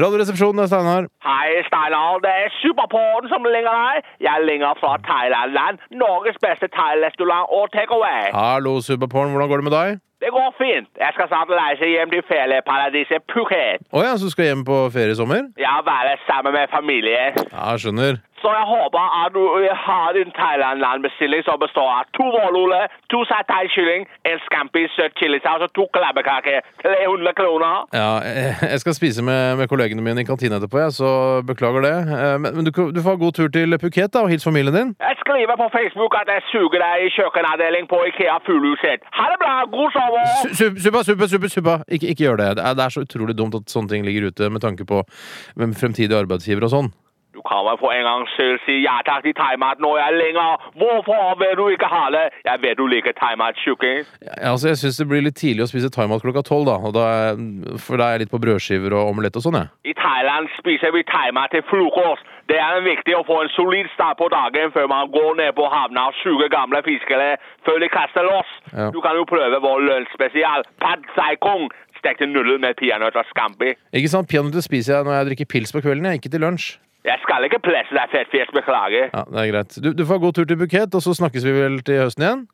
Radioresepsjonen, det er Steinar. Hei, Steinar. Det er Superporten som ringer deg. Jeg ringer fra Thailand-land. Norges beste thairestaurant og takeaway. Hallo, Superporn, hvordan går det med deg? Det går fint. Jeg skal snart reise hjem til ferieparadiset Phuket. Å ja, så du skal hjem på ferie i sommer? Jeg være sammen med familien. Ja, jeg skjønner. Så jeg håper at du har en Thailand-landbestilling som består av to vårruller, to satay-kylling, en scampi søt chilisaus og to klabbekaker. 300 kroner. Ja, jeg, jeg skal spise med, med kollegene mine i kantina etterpå, jeg, så beklager det. Eh, Men, men du, kan- du får ha god tur til Phuket, da, og hils familien din. Jeg skriver på Facebook at jeg suger deg i kjøkkenavdeling på Ikea Fuglehuset. Ha det bra! God sommer! Su- su- Suppa, suppa, suppa! suppa. Ikke, ikke gjør det. Det er, det er så utrolig dumt at sånne ting ligger ute med tanke på hvem fremtidige arbeidsgivere og sånn. Du kan vel for en gangs skyld si ja takk til thaimat når jeg er lenger. Hvorfor vil du ikke ha det? Jeg vet du liker thaimat-tjukking. Ja, altså, jeg syns det blir litt tidlig å spise thaimat klokka tolv, da. Og da er, for da er jeg litt på brødskiver og omelett og sånn, jeg. I Thailand spiser vi thaimat til frokost. Det er viktig å få en solid start på dagen før man går ned på havna og suger gamle fiskere før de kaster loss. Ja. Du kan jo prøve vår lunsjspesial, Pad Thai Kong. Stekte nudler med peanøtter og scampi. Ikke sant? Peanøtter spiser jeg når jeg drikker pils på kvelden, jeg. Ikke til lunsj. Jeg skal ikke presse deg, fettfjes, beklager. Ja, det er greit. Du, du får ha god tur til Phuket, og så snakkes vi vel til høsten igjen?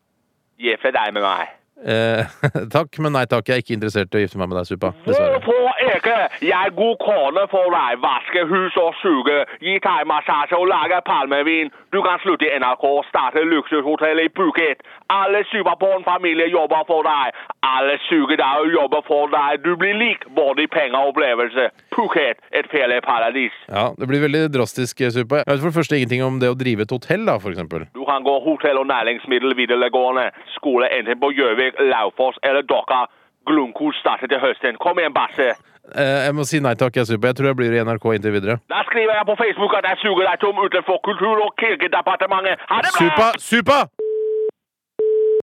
Gifte deg med meg. Eh, takk, men nei takk. Jeg er ikke interessert i å gifte meg med deg, Suppa. Dessverre. Hvorfor ikke? Jeg er god kone for deg. Vaske hus og suge. Gi thaimassasje og lage palmevin. Du kan slutte i NRK og starte luksushotell i Phuket. Alle superpornfamilier jobber for deg. Alle suger deg og jobber for deg. Du blir lik både i penger og opplevelse. Phuket, et ferieparadis. Ja, det blir veldig drastisk, eh, Suppa. Jeg vet for det første ingenting om det å drive et hotell, da, for eksempel. Du kan gå hotell- og næringsmiddel videregående. Skole enten på Gjøvik, Laufoss eller Dokka. Glunko starter til høsten. Kom igjen, Basse. Eh, jeg må si nei takk, jeg, Suppa. Jeg tror jeg blir i NRK inntil videre. Da skriver jeg på Facebook at jeg suger deg tom utenfor Kultur- og kirkedepartementet. Ha det Suppa! bra! Suppa!